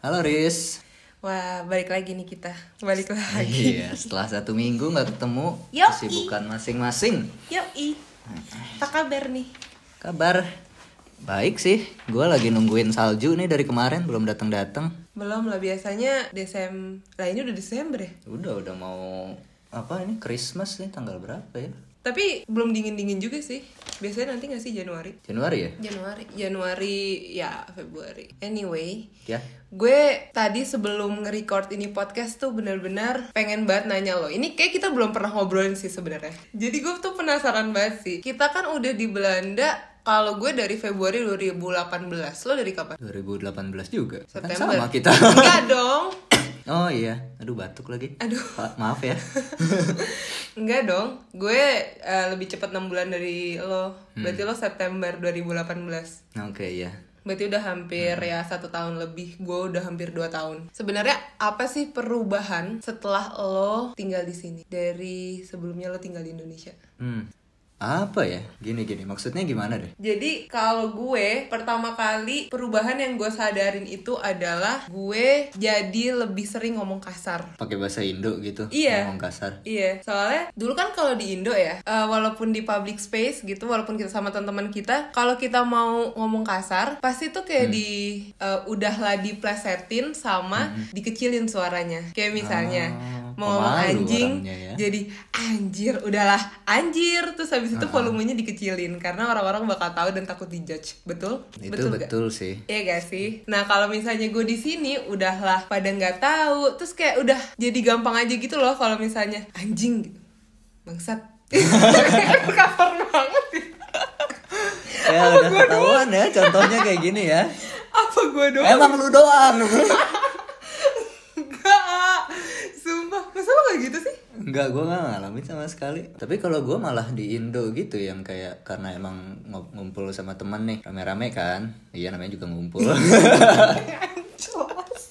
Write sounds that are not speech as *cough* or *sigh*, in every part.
Halo Riz. Wah, balik lagi nih kita. Balik lagi. Iya, setelah satu minggu nggak ketemu, Yoi. kesibukan masing-masing. Yoi. Apa kabar nih? Kabar baik sih. Gue lagi nungguin salju nih dari kemarin belum datang datang. Belum lah biasanya Desember. Lah ini udah Desember ya. Udah udah mau apa ini Christmas nih tanggal berapa ya? Tapi belum dingin-dingin juga sih. Biasanya nanti nggak sih Januari? Januari ya? Januari. Januari ya Februari. Anyway, Ya. Gue tadi sebelum nge-record ini podcast tuh bener-bener pengen banget nanya lo. Ini kayak kita belum pernah ngobrolin sih sebenarnya. Jadi gue tuh penasaran banget sih. Kita kan udah di Belanda kalau gue dari Februari 2018. Lo dari kapan? 2018 juga. Kan September. sama kita. *laughs* *laughs* Enggak dong. Oh iya, aduh batuk lagi. Aduh. Pa- maaf *laughs* ya. Enggak dong. Gue eh, lebih cepat 6 bulan dari lo. Hmm. Berarti lo September 2018. Nah, Oke ya. Berarti udah hampir ya satu tahun lebih, gue udah hampir dua tahun. Sebenarnya apa sih perubahan setelah lo tinggal di sini dari sebelumnya lo tinggal di Indonesia? Hmm. Apa ya? Gini gini. Maksudnya gimana deh? Jadi kalau gue pertama kali perubahan yang gue sadarin itu adalah gue jadi lebih sering ngomong kasar. Pakai bahasa Indo gitu. Iya. Ngomong kasar. Iya, soalnya dulu kan kalau di Indo ya, eh, walaupun di public space gitu, walaupun kita sama teman-teman kita, kalau kita mau ngomong kasar, pasti tuh Hmm. kayak di eh, udahlah diplesetin sama dikecilin suaranya. Kayak misalnya Hmm. Ah, mau ngomong pemalu anjing, orangnya ya. jadi anjir, udahlah anjir, terus habis Ah. itu volumenya dikecilin karena orang-orang bakal tahu dan takut dijudge. Betul? Itu betul nggak? betul sih. Iya gak sih? Nah kalau misalnya gue di sini udahlah pada nggak tahu, terus kayak udah jadi gampang aja gitu loh kalau misalnya anjing gitu. bangsat. *laughs* Kayak cover banget. ya. ya udah ketahuan ya contohnya kayak gini ya Apa gue doang? emang lu doang Enggak. ah. Sumpah, masa lo gak gitu sih? Enggak, gue gak ngalamin sama sekali Tapi kalau gue malah di Indo gitu Yang kayak karena emang ngo- ngumpul sama temen nih Rame-rame kan Iya namanya juga ngumpul *laughs* Anjos.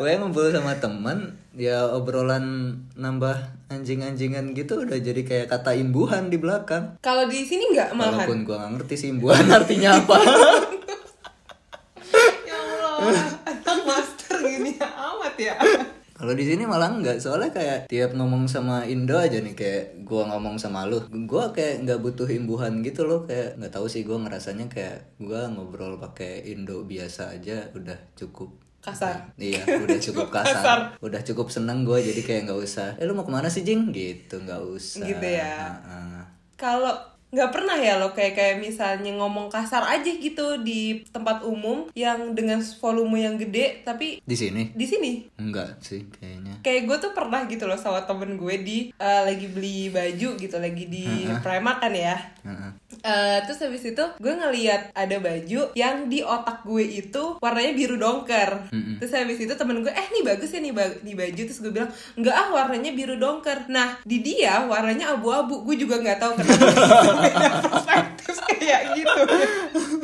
Gue ngumpul sama temen Ya obrolan nambah anjing-anjingan gitu Udah jadi kayak kata imbuhan di belakang Kalau di sini nggak malahan. Walaupun gue gak ngerti sih imbuhan artinya apa Ya Allah, anak master gini amat ya. Kalau di sini malah enggak, soalnya kayak tiap ngomong sama Indo aja nih kayak gua ngomong sama lu, gua kayak nggak butuh imbuhan gitu loh, kayak nggak tahu sih gua ngerasanya kayak gua ngobrol pakai Indo biasa aja udah cukup. Kasar. Iya, udah *laughs* cukup kasar. kasar. Udah cukup seneng gua jadi kayak nggak usah. Eh lu mau kemana sih Jing? Gitu nggak usah. Gitu ya. Heeh. kalau nggak pernah ya lo kayak kayak misalnya ngomong kasar aja gitu di tempat umum yang dengan volume yang gede tapi Di sini di sini enggak sih kayaknya. kayak gue tuh pernah gitu loh sama temen gue di eh, lagi beli baju gitu lagi di Primark kan ya Heeh. Eh, terus habis itu gue ngeliat ada baju yang di otak gue itu warnanya biru dongker terus habis itu temen gue eh nih bagus ya nih, ba- nih baju terus gue bilang nggak ah warnanya biru dongker nah di dia warnanya abu-abu gue juga nggak tahu kenapa *laughs* beda perspektif kayak gitu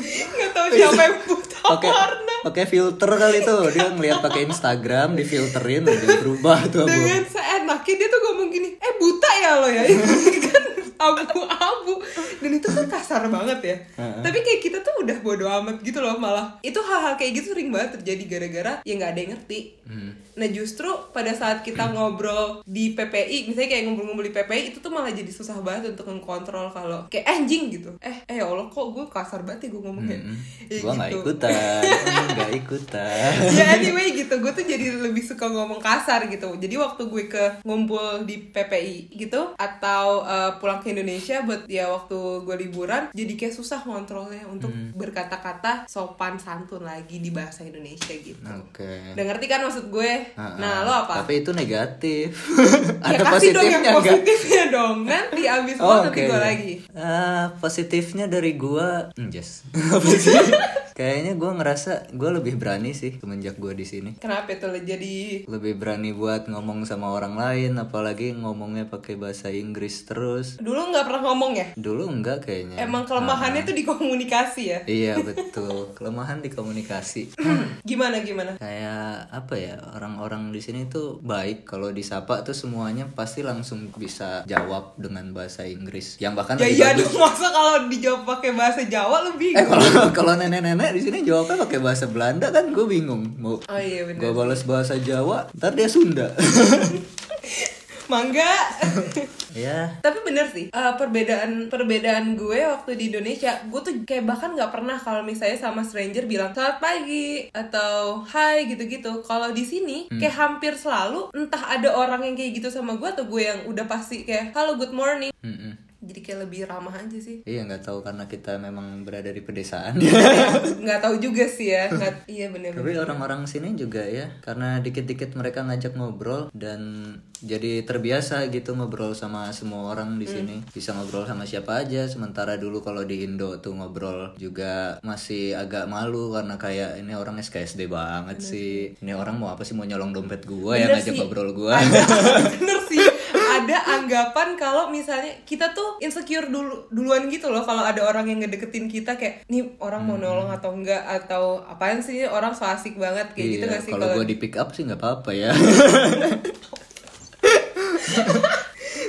nggak tahu siapa yang buta Oh, Oke, warna oke filter kali tuh dia ngelihat pakai Instagram difilterin udah berubah tuh abu dengan seenaknya dia tuh ngomong gini eh buta ya lo ya *laughs* Itu kan abu-abu dan itu kan kasar banget ya tapi kayak kita tuh udah bodo amat gitu loh malah itu hal-hal kayak gitu sering banget terjadi gara-gara ya nggak ada yang ngerti Hmm. nah justru pada saat *clears throat* kita ngobrol di PPI misalnya kayak ngumpul-ngumpul di PPI itu tuh malah jadi susah banget untuk mengkontrol kalau kayak "Eh, anjing gitu eh eh ya Allah kok gue kasar banget ya gue ngomongnya Ya Hmm. gua nggak gitu. *laughs* ikutan nggak ikutan *laughs* ya anyway gitu gue tuh jadi lebih suka ngomong kasar gitu jadi waktu gue ke ngumpul di PPI gitu atau uh, pulang ke Indonesia buat ya waktu gue liburan jadi kayak susah ngontrolnya untuk Hmm. berkata-kata sopan santun lagi di bahasa Indonesia gitu Nah, oke udah ngerti kan maksud gue nah lo apa tapi itu negatif *laughs* ya ada kasih dong yang positifnya nggak positifnya dong nanti abis lo Oh, nanti oke. gue lagi Ah, positifnya dari gua hmm, yes *laughs* *laughs* Apa sih? kayaknya gua ngerasa gua lebih berani sih semenjak gua di sini kenapa itu lo jadi lebih berani buat ngomong sama orang lain apalagi ngomongnya pakai bahasa Inggris terus dulu nggak pernah ngomong ya dulu enggak kayaknya emang kelemahannya Nah, tuh di komunikasi ya iya betul kelemahan di komunikasi *laughs* gimana gimana kayak apa ya orang-orang di sini tuh baik kalau disapa tuh semuanya pasti langsung bisa jawab dengan bahasa Inggris yang bahkan Ya lebih iya bagus dong, masa kalau di dijawab pakai bahasa Jawa lu Eh bingung. kalau *laughs* kalau nenek-nenek di sini jawabnya pakai bahasa Belanda kan gue bingung mau Oh iya gue bener. balas bahasa Jawa ntar dia Sunda. *laughs* Mangga. ya *laughs* Tapi bener sih eh, perbedaan perbedaan gue waktu di Indonesia, gue tuh kayak bahkan nggak pernah kalau misalnya sama stranger bilang selamat pagi atau hai gitu-gitu. Kalau di sini Hmm. kayak hampir selalu entah ada orang yang kayak gitu sama gue atau gue yang udah pasti kayak halo good morning. Mm-mm. Jadi kayak lebih ramah aja *laughs* sih. iya nggak tahu karena kita memang berada di pedesaan. *laughs* nggak tahu juga sih ya. Nggak- iya bener-bener. Tapi orang-orang sini juga ya, karena dikit-dikit mereka ngajak ngobrol dan jadi terbiasa gitu ngobrol sama semua orang Hmm. di sini. Bisa ngobrol sama siapa aja. Sementara dulu kalau di Indo tuh ngobrol juga masih agak malu karena kayak ini orang SKSD banget sih. Ini orang mau apa sih mau nyolong dompet gua ya Bener sih. ngajak Ah, ngobrol gua. *laughs* bener sih ada anggapan kalau misalnya kita tuh insecure dulu duluan gitu loh kalau ada orang yang ngedeketin kita kayak nih orang Hmm. mau nolong atau enggak atau apaan sih orang so asik banget kayak gitu Iya, gak sih kalau kalau gua di pick up sih nggak apa-apa ya. *laughs*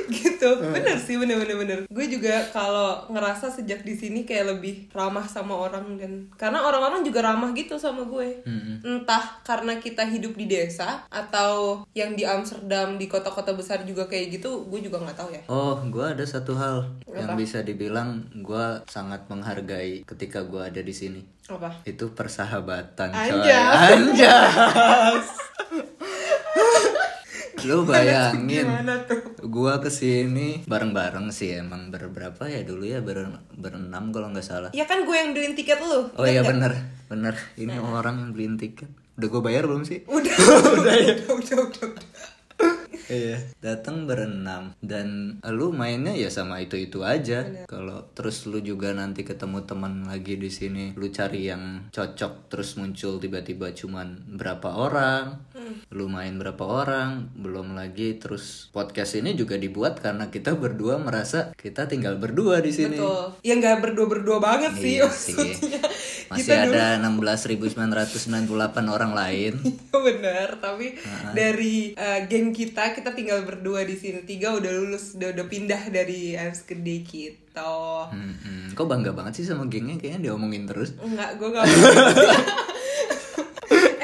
gitu bener sih bener bener bener gue juga kalau ngerasa sejak di sini kayak lebih ramah sama orang dan karena orang-orang juga ramah gitu sama gue Hmm. entah karena kita hidup di desa atau yang di Amsterdam di kota-kota besar juga kayak gitu gue juga nggak tahu ya Oh, gua ada satu hal yang bisa dibilang gua sangat menghargai ketika gua ada di sini. apa itu persahabatan coy. Anjas. *laughs* anjas lu bayangin gimana tuh gua kesini bareng-bareng sih emang berberapa ya dulu ya ber berenam kalau nggak salah Ya kan gue yang beliin tiket lu. oh iya bener bener ini orang yang beliin tiket udah gue bayar belum sih Udah, *laughs* udah, iya. udah, udah, udah, udah. Iya. Datang berenam dan lu mainnya ya sama itu-itu aja. Kalau terus lu juga nanti ketemu teman lagi di sini, lu cari yang cocok terus muncul tiba-tiba cuman berapa orang. Hmm. Lu main berapa orang, belum lagi terus podcast ini juga dibuat karena kita berdua merasa kita tinggal berdua di sini. Betul. Ya nggak berdua-berdua banget sih Iya sih. maksudnya. *laughs* Masih ada 16.998 orang lain. Bener, tapi dari eh, geng kita kita tinggal berdua di sini. Tiga udah lulus, udah, udah pindah dari Ams gede kita. Hmm, kok bangga banget sih sama gengnya kayaknya diomongin terus. Enggak, gue gak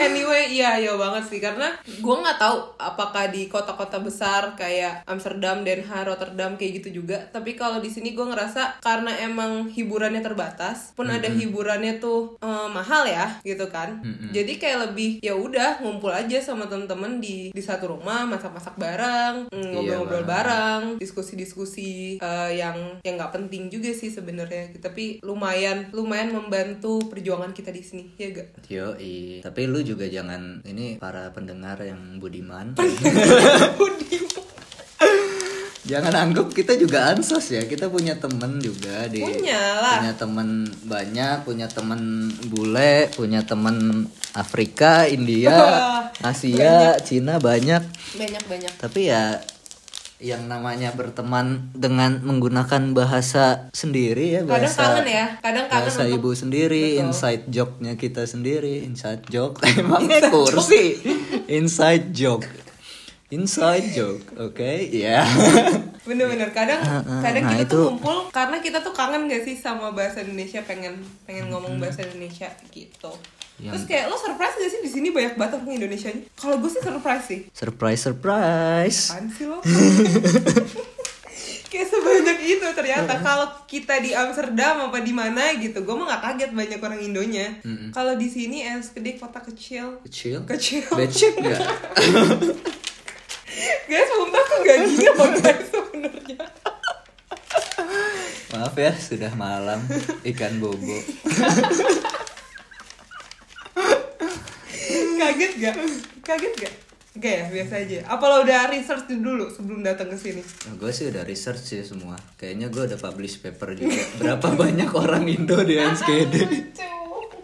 Anyway, iya, iya banget sih karena gue nggak tahu apakah di kota-kota besar kayak Amsterdam, Den Haag, Rotterdam kayak gitu juga. Tapi kalau di sini gue ngerasa karena emang hiburannya terbatas, pun ada hiburannya tuh eh, mahal ya, gitu kan. Jadi kayak lebih ya udah ngumpul aja sama temen-temen di di satu rumah, masak-masak bareng, mm, ngobrol-ngobrol bareng, diskusi-diskusi eh, yang yang nggak penting juga sih sebenarnya. Tapi lumayan lumayan membantu perjuangan kita di sini, ya gak? Yoi, tapi lu juga jangan ini para pendengar yang budiman. *laughs* jangan anggap kita juga ansos ya. Kita punya temen juga di Punya lah. Iya, punya temen banyak, punya temen bule, punya temen Afrika, *laughs* India, Asia, Cina banyak. Banyak-banyak. Tapi ya yang namanya berteman dengan menggunakan bahasa sendiri ya Kadang bahasa kangen ya, kadang kangen bahasa untuk ibu sendiri, inside joke-nya kita sendiri, inside joke. *laughs* Emangnya kursi. Inside joke. Inside joke. Oke, ya. bener-bener kadang kadang nah, kita tuh itu- ngumpul karena kita tuh kangen gak sih sama bahasa Indonesia pengen pengen ngomong bahasa Indonesia gitu. Iya. Terus kayak lo surprise gak sih di sini banyak banget orang Indonesia Kalau gue sih surprise sih. *laughs* Surprise surprise. Apaan sih *laughs* lo? kayak sebanyak itu ternyata kalau kita di Amsterdam apa di mana gitu gue mah nggak kaget banyak orang Indonya kalau di sini Enschede kota kecil *laughs* Kecil. kecil Becek enggak? guys sumpah tuh gak *laughs* gini apa guys sebenarnya Maaf ya, sudah malam. Ikan bobo. kaget gak kaget gak gak ya biasa aja apa lo udah research dulu sebelum datang ke sini gue Nah, sih udah research sih semua. Kayaknya gue udah publish paper juga. *laughs* Berapa banyak orang Indo di NSKD? lucu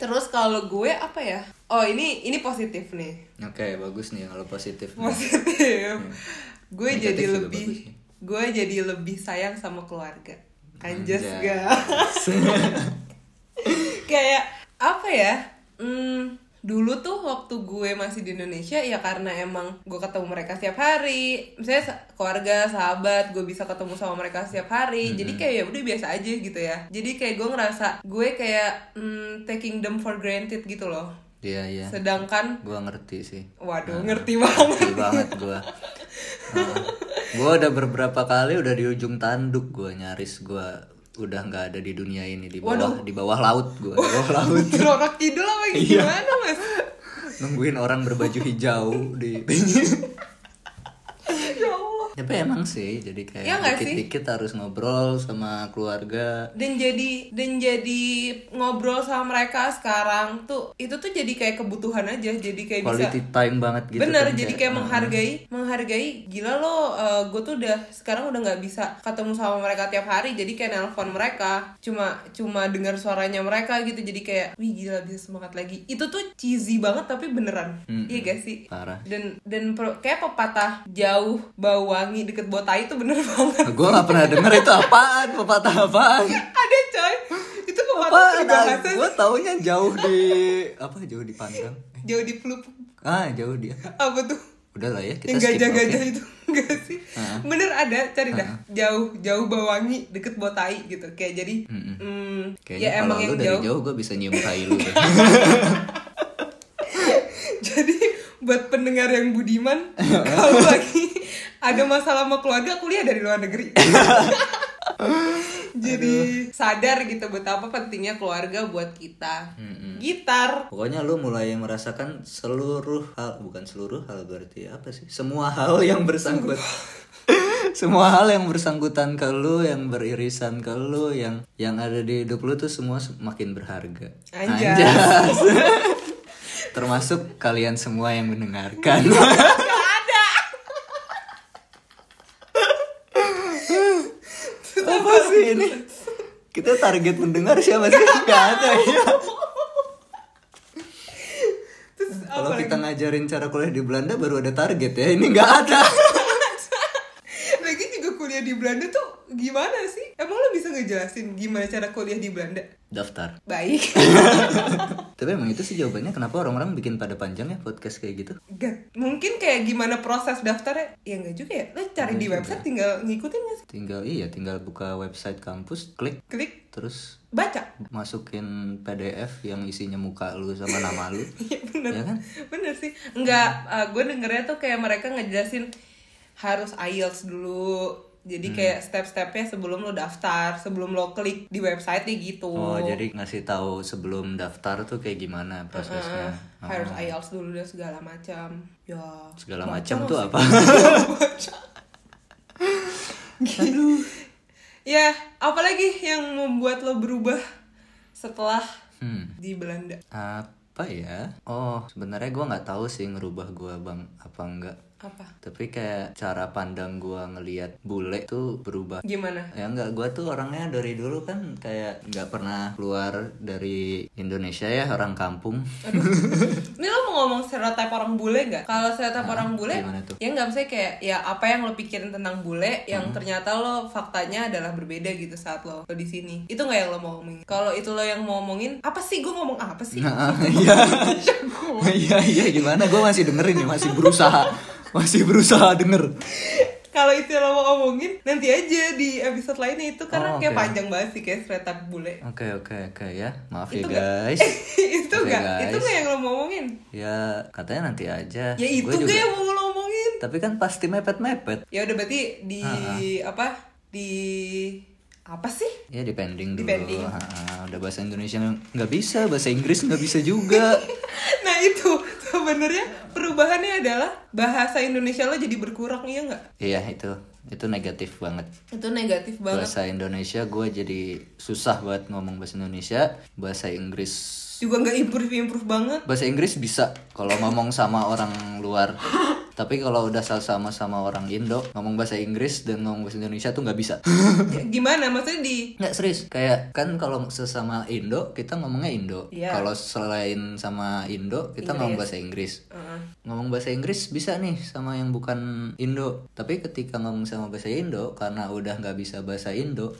terus kalau gue apa ya oh ini ini positif nih Oke, bagus nih kalau positif. positif gue Negatif jadi juga lebih bagus ya. gue jadi lebih sayang sama keluarga anjas Anjas. *laughs* gak kayak apa ya hmm, dulu tuh waktu gue masih di Indonesia ya karena emang gue ketemu mereka setiap hari misalnya sa- keluarga sahabat gue bisa ketemu sama mereka setiap hari jadi kayak ya udah biasa aja gitu ya jadi kayak gue ngerasa gue kayak mm, taking them for granted gitu loh *laughs* Iya iya. sedangkan Gua ngerti sih. waduh ngerti banget Nah, Ngerti *laughs* banget gua. Heeh. gua udah beberapa kali udah di ujung tanduk gua nyaris gua udah nggak ada di dunia ini di bawah di bawah laut gua, di bawah *laughs* laut. Rorak kidul apa Iya. gimana mas Nungguin orang berbaju hijau di ya Allah Tapi emang sih jadi Iya nggak kayak sih? dikit-dikit harus ngobrol sama keluarga. dan jadi dan jadi ngobrol sama mereka sekarang tuh itu tuh jadi kayak kebutuhan aja jadi kayak bisa Quality time banget gitu. bener kan, ah. jadi kayak menghargai menghargai gila lo gue tuh udah sekarang udah nggak bisa ketemu sama mereka tiap hari jadi kayak nelpon mereka cuma cuma dengar suaranya mereka gitu jadi kayak wih gila bisa semangat lagi itu tuh cheesy banget tapi beneran iya gak sih parah. dan dan pro- kayak pepatah jauh bau wangi deket botai itu bener *laughs* banget Gue gak "Nah, pernah denger itu apaan, pepatah apaan ada coy itu pepatah Apaan, peribahasa gue taunya jauh di, apa, jauh di pandang jauh di pelupuk Ah, jauh dia apa tuh Udah lah ya, kita yang skip gajah-gajah itu *laughs* enggak sih bener ada cari dah jauh jauh bawangi deket botai gitu kayak jadi mm, oke. Kayaknya ya emang kalau yang lu dari jauh jauh gue bisa nyium tai lu deh. *laughs* jadi buat pendengar yang *laughs* budiman kalau lagi ada masalah sama keluarga kuliah dari luar *laughs* negeri jadi sadar gitu betapa pentingnya keluarga buat kita gitar Pokoknya lu mulai merasakan seluruh hal Bukan seluruh hal berarti apa sih Semua hal yang bersangkut *laughs* Semua hal yang bersangkutan ke lu Yang beririsan ke lu Yang, yang ada di hidup lu tuh semua se- makin berharga Anjas. Anjas. Termasuk kalian semua yang mendengarkan Gak ada. Apa sih ini? Kita target mendengar siapa sih? Gak ada ya Terus Kalau kita ngajarin cara kuliah di Belanda baru ada target ya Ini gak ada Lagi juga kuliah di Belanda tuh gimana sih? Emang lo bisa ngejelasin gimana cara kuliah di Belanda? Daftar Baik. Tapi emang itu sih jawabannya kenapa orang-orang bikin pada panjang ya podcast kayak gitu *laughs* Gak. Mungkin kayak gimana proses daftarnya? Ya enggak juga ya. Lo cari di website tinggal ngikutin gak sih? Tinggal iya tinggal buka website kampus klik Klik terus baca. *laughs* masukin PDF yang isinya muka lu sama nama lu Iya bener. Iya kan? Bener sih. Enggak, eh, gue dengernya tuh kayak mereka ngejelasin harus IELTS dulu. Hmm. Jadi kayak step-stepnya sebelum lo daftar, sebelum lo klik di website gitu. Oh jadi ngasih tahu sebelum daftar tuh kayak gimana prosesnya harus Ah. IELTS dulu dan segala macam. Ya. Segala baca macam nggak tuh sih? apa? *laughs* Baca. *laughs* ya, apalagi yang membuat lo berubah setelah Hmm di Belanda? apa ya oh sebenarnya gua nggak tahu sih ngerubah gua bang apa enggak Apa? tapi kayak cara pandang gua ngelihat bule tuh berubah Gimana? ya enggak gua tuh orangnya dari dulu kan kayak nggak pernah keluar dari Indonesia ya orang kampung *laughs* Ini lo mau ngomong stereotip orang bule nggak? Kalau stereotip orang bule, Ah, gimana tuh? Hmm. ya nggak bisa kayak ya apa yang lo pikirin tentang bule yang ternyata lo faktanya adalah berbeda gitu saat lo, lo di sini. Itu nggak yang lo mau omongin. Kalau itu lo yang mau omongin, apa sih gue ngomong apa sih? Nah, iya iya iya gimana gua masih dengerin ya masih berusaha masih berusaha denger *laughs* Kalau itu yang lo mau omongin, nanti aja di episode lainnya itu karena Oh, kayak oke. panjang banget sih kayak stereotip bule. *laughs* oke oke oke ya maaf Itu ya nggak- Eh. guys itu Oke, nggak, guys. itu nggak yang lo mau omongin. ya katanya nanti aja Ya itu Gua gue juga yang mau lo omongin. tapi kan pasti mepet mepet Ya udah berarti di apa? Di apa sih? *laughs* Ya depending dulu. Depending. Ha, udah bahasa Indonesia nggak bisa, bahasa Inggris nggak bisa juga. *laughs* Nah itu sebenarnya perubahannya adalah bahasa Indonesia lo jadi berkurang iya nggak? Iya itu, itu negatif banget. Itu negatif banget. Bahasa Indonesia gue jadi susah banget ngomong bahasa Indonesia. Bahasa Inggris, Juga nggak improve improve banget. bahasa Inggris bisa kalau ngomong sama orang luar. Tapi kalau udah sama-sama orang Indo ngomong bahasa Inggris dan ngomong bahasa Indonesia tuh nggak bisa. Ya, Gimana maksudnya di Nggak serius. Kayak kan kalau sesama Indo kita ngomongnya Indo. Iya. Kalau selain sama Indo kita ngomong bahasa Inggris. Heeh. Ngomong bahasa Inggris bisa nih sama yang bukan Indo. Tapi ketika ngomong sama bahasa Indo karena udah nggak bisa bahasa Indo.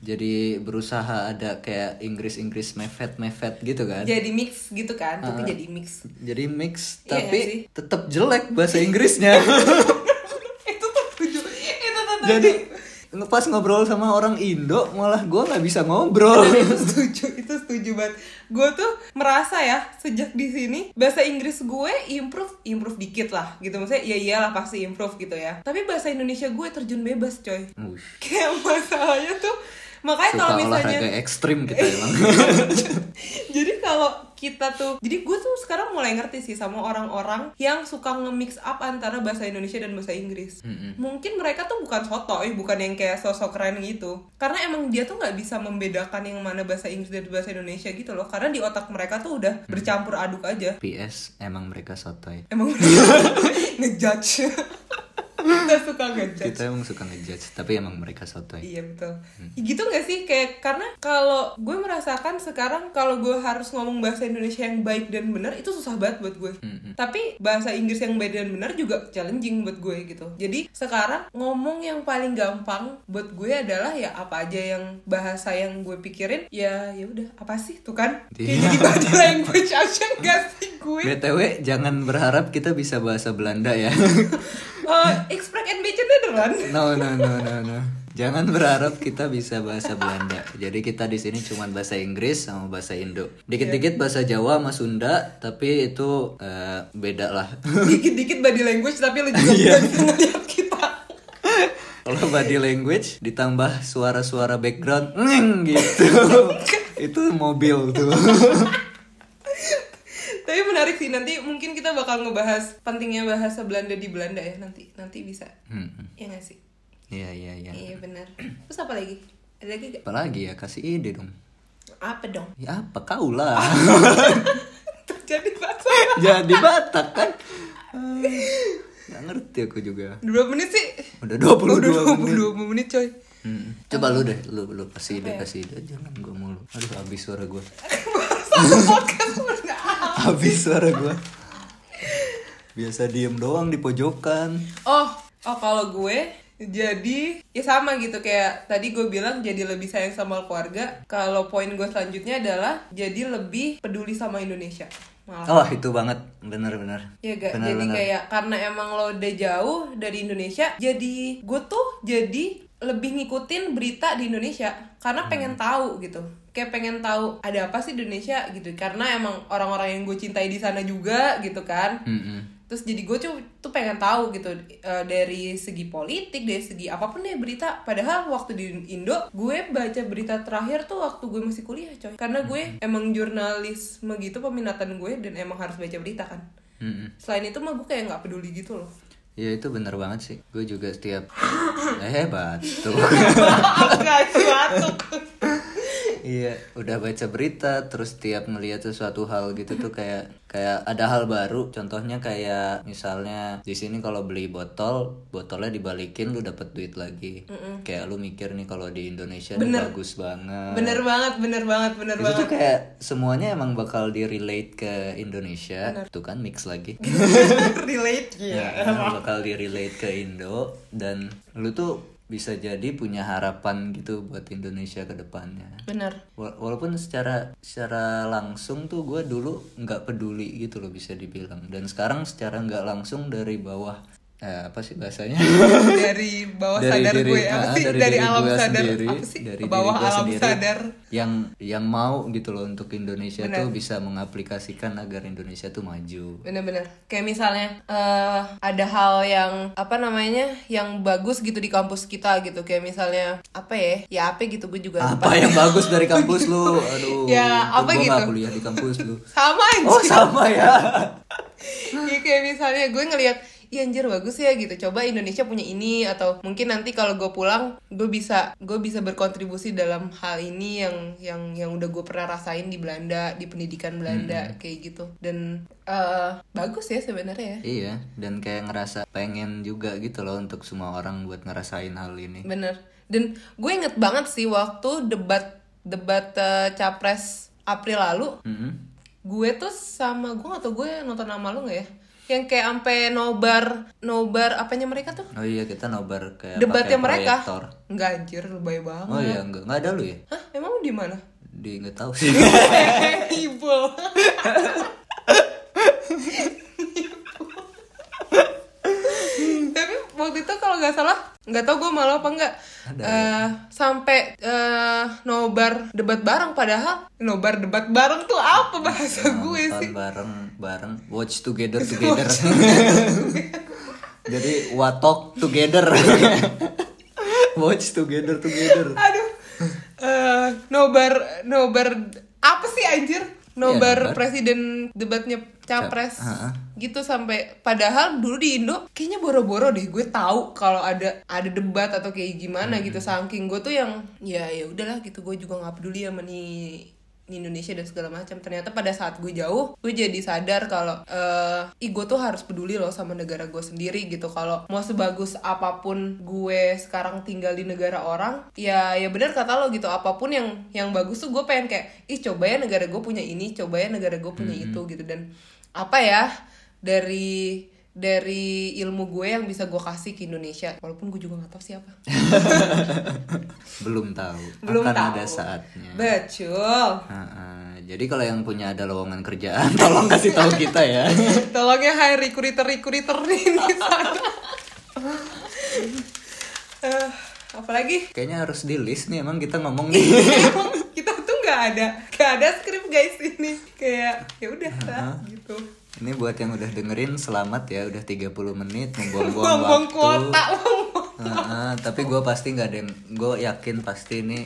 Jadi berusaha ada kayak Inggris-Inggris mefet-mefet gitu kan. jadi mix gitu kan? Tapi jadi mix. *laughs* Jadi mix Iya nggak sih? Iya. tapi tetap jelek bahasa *laughs* Inggrisnya. itu tuh tujuh. Itu tuh tujuh. Jadi pas ngobrol sama orang Indo malah gue nggak bisa ngobrol. itu setuju itu setuju banget gue tuh merasa ya sejak di sini bahasa Inggris gue improve improve dikit lah gitu maksudnya ya iyalah pasti improve gitu ya tapi bahasa Indonesia gue terjun bebas coy Wush, kayak *laughs* masalahnya tuh makanya Hmm. Suka Eh, kalau misalnya olahraga ekstrim *laughs* kita emang. jadi kalau kita tuh jadi gue tuh sekarang mulai ngerti sih sama orang-orang yang suka nge-mix up antara bahasa Indonesia dan bahasa Inggris Mm-mm. mungkin mereka tuh bukan sotoy bukan yang kayak sosok keren gitu karena emang dia tuh nggak bisa membedakan yang mana bahasa Inggris dan bahasa Indonesia gitu loh karena di otak mereka tuh udah bercampur aduk aja PS emang mereka sotoy. emang *laughs* mereka ngejudge *laughs* kita suka ngejudge Kita emang suka ngejudge tapi emang mereka sotoy. Iya betul. Gitu gak sih kayak karena kalau gue merasakan sekarang kalau gue harus ngomong bahasa Indonesia yang baik dan benar itu susah banget buat gue. Mm-mm. Tapi bahasa Inggris yang baik dan benar juga challenging buat gue gitu. Jadi sekarang ngomong yang paling gampang buat gue adalah ya apa aja yang bahasa yang gue pikirin ya ya udah apa sih tuh kan? Kayak Iya. jadi body language aja gak sih gue? BTW jangan berharap kita bisa bahasa Belanda ya. *laughs* Eh, express and be Nederland. No no no no no. Jangan berharap kita bisa bahasa Belanda. Jadi kita di sini cuman bahasa Inggris sama bahasa Indo. Dikit-dikit bahasa Jawa sama Sunda, tapi itu eh, beda lah. *laughs* Dikit-dikit body language tapi lu juga gak bisa ngeliat kita. Kalau body language ditambah suara-suara background, "Ngeng," *laughs* gitu. itu mobil tuh. Tapi menarik sih nanti mungkin kita bakal ngebahas pentingnya bahasa Belanda di Belanda ya nanti nanti bisa. Hmm, Iya nggak sih? Iya iya iya. Iya benar. Terus apa lagi? Ada lagi gak? Apalagi ya kasih ide dong. Apa dong? Ya apa kau *laughs* lah. Terjadi masalah. Jadi Batak kan. Eh, Nggak ngerti aku juga. Udah Berapa menit sih? Udah Udah 22 menit. 22 menit coy. Hmm. Coba lu deh, lu lu kasih ya? ide, kasih ide. Jangan gua mulu. Aduh, habis suara gua. Sama podcast bener. Habis suara gua. Biasa diem doang di pojokan. Oh, oh kalau gue jadi ya sama gitu kayak tadi gue bilang jadi lebih sayang sama keluarga. Kalau poin gue selanjutnya adalah jadi lebih peduli sama Indonesia. Malah Oh, itu banget. Bener-bener. Ya gak? Bener, jadi bener. kayak karena emang lo udah jauh dari Indonesia, jadi gue tuh jadi lebih ngikutin berita di Indonesia karena pengen tahu gitu. Kayak pengen tahu ada apa sih di Indonesia gitu. Karena emang orang-orang yang gue cintai di sana juga gitu kan. Mm-mm. Terus jadi gue tuh, tuh pengen tahu gitu eh, dari segi politik, dari segi apapun deh berita. Padahal waktu di Indo gue baca berita terakhir tuh waktu gue masih kuliah coy. Karena gue emang jurnalisme gitu peminatan gue dan emang harus baca berita kan. Mm-mm. Selain itu mah gue kayak nggak peduli gitu *laughs* loh. Ya itu bener banget sih. Gue juga *laughs* setiap eh batuk. Gak batuk. Iya, udah baca berita terus tiap ngelihat sesuatu hal gitu tuh kayak kayak ada hal baru. Contohnya kayak misalnya di sini kalau beli botol, botolnya dibalikin lu dapet duit lagi. Kayak lu mikir nih kalau di Indonesia nih bagus banget. Bener banget, bener banget, bener Itu banget. tuh kayak semuanya emang bakal di relate ke Indonesia. Tuh kan mix *laughs* lagi. *laughs* Relate Ya, ya. bakal di relate ke Indo dan lu tuh bisa jadi punya harapan gitu buat Indonesia ke depannya. Bener. Wala- walaupun secara secara langsung tuh gue dulu nggak peduli gitu loh bisa dibilang dan sekarang secara nggak langsung dari bawah eh, apa sih bahasanya Dari *laughs* bawah sadar diri- gue ya. apa ah, sih? Dari, diri alam gua sadar sendiri, apa sih? dari diri bawah gua alam sendiri sadar. yang yang mau gitu loh untuk Indonesia Benar. tuh bisa mengaplikasikan agar Indonesia tuh maju Bener-bener. Kayak misalnya eh ada hal yang apa namanya yang bagus gitu di kampus kita gitu. Kayak misalnya apa ya? Ya apa gitu gue juga. lupa. apa yang bagus dari kampus lu *laughs* aduh Ya, untung apa gua nggak gitu? kuliah *laughs* di kampus lu Sama aja. oh sama ya Iya kayak misalnya gue ngelihat iya anjir bagus ya gitu coba Indonesia punya ini atau mungkin nanti kalau gue pulang gue bisa gue bisa berkontribusi dalam hal ini yang yang yang udah gue pernah rasain di Belanda di pendidikan Belanda kayak gitu dan eh, bagus ya sebenarnya ya Iya, dan kayak ngerasa pengen juga gitu loh untuk semua orang buat ngerasain hal ini. Bener. Dan gue inget banget sih waktu debat debat eh, capres April lalu, Mm-mm. gue tuh sama gue atau gue nonton nama lu nggak ya? Yang kayak ampe nobar nobar apanya mereka tuh? Oh iya, kita nobar kayak Debatnya pakai mereka. proyektor. Nggak anjir, lebay banget. Oh iya, enggak, enggak ada lu ya? Hah, emang di *laughs* mana? Di enggak *laughs* tahu sih. *laughs* Ibu. Tapi waktu itu kalau nggak salah, nggak tahu gue malu apa nggak eh, sampai eh, nobar debat bareng padahal nobar debat bareng tuh apa bahasa gue sih? Nonton bareng bareng watch *laughs* together together. *laughs* Jadi watok together. *laughs* watch together together. Aduh. Eh, nobar nobar apa sih anjir? Nobar nobar. presiden debatnya capres Heeh. gitu sampai padahal dulu di Indo kayaknya boro-boro deh gue tahu kalau ada ada debat atau kayak gimana gitu saking gue tuh yang ya ya udahlah gitu gue juga nggak peduli sama nih nih Indonesia dan segala macam ternyata pada saat gue jauh gue jadi sadar kalau eh ih gue tuh harus peduli loh sama negara gue sendiri gitu kalau mau sebagus apapun gue sekarang tinggal di negara orang ya ya benar kata lo gitu apapun yang yang bagus tuh gue pengen kayak ih coba ya negara gue punya ini coba ya negara gue punya itu gitu dan apa ya dari dari ilmu gue yang bisa gue kasih ke Indonesia walaupun gue juga nggak tahu siapa *laughs* Belum tahu. belum Akan tahu ada saatnya. betul *coughs* Heeh. Jadi kalau yang punya ada lowongan kerjaan *laughs* tolong kasih tahu kita ya. *laughs* tolong ya hai recruiter recruiter ini sana *laughs* Eh, apalagi Kayaknya harus di list nih emang kita ngomong gitu. nih. Emang *laughs* kita tuh nggak ada nggak ada skrip guys ini kayak ya udah lah gitu Ini buat yang udah dengerin selamat ya udah 30 *laughs* menit membuang-buang buang-buang waktu. kuota *laughs* buang-buang Heeh, tapi gue pasti nggak ada yang gue yakin pasti ini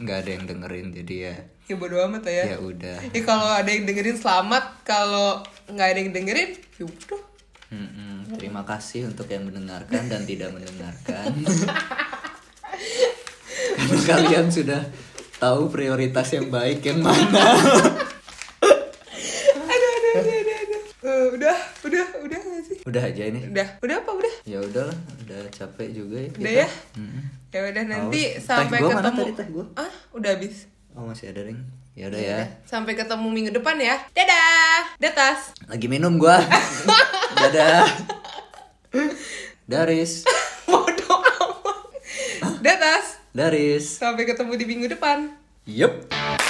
nggak ada yang dengerin jadi ya ya bodo amat lah ya ya udah ya kalau ada yang dengerin selamat kalau nggak ada yang dengerin ya yaudah Mm-mm, terima kasih untuk yang mendengarkan dan tidak *laughs* mendengarkan karena kalian sudah tahu prioritas yang baik yang *laughs* mana aduh aduh aduh aduh, aduh. Eh, udah udah udah nggak sih udah aja ini udah udah apa udah ya udahlah udah capek juga ya udah kita. ya ya udah nanti Haus. sampai Teh gua mana ketemu tadi, teh gua? ah udah habis oh masih ada ring ya udah ya sampai ketemu minggu depan ya dadah datas lagi minum gua dadah daris bodoh amat datas daris sampai ketemu di minggu depan yep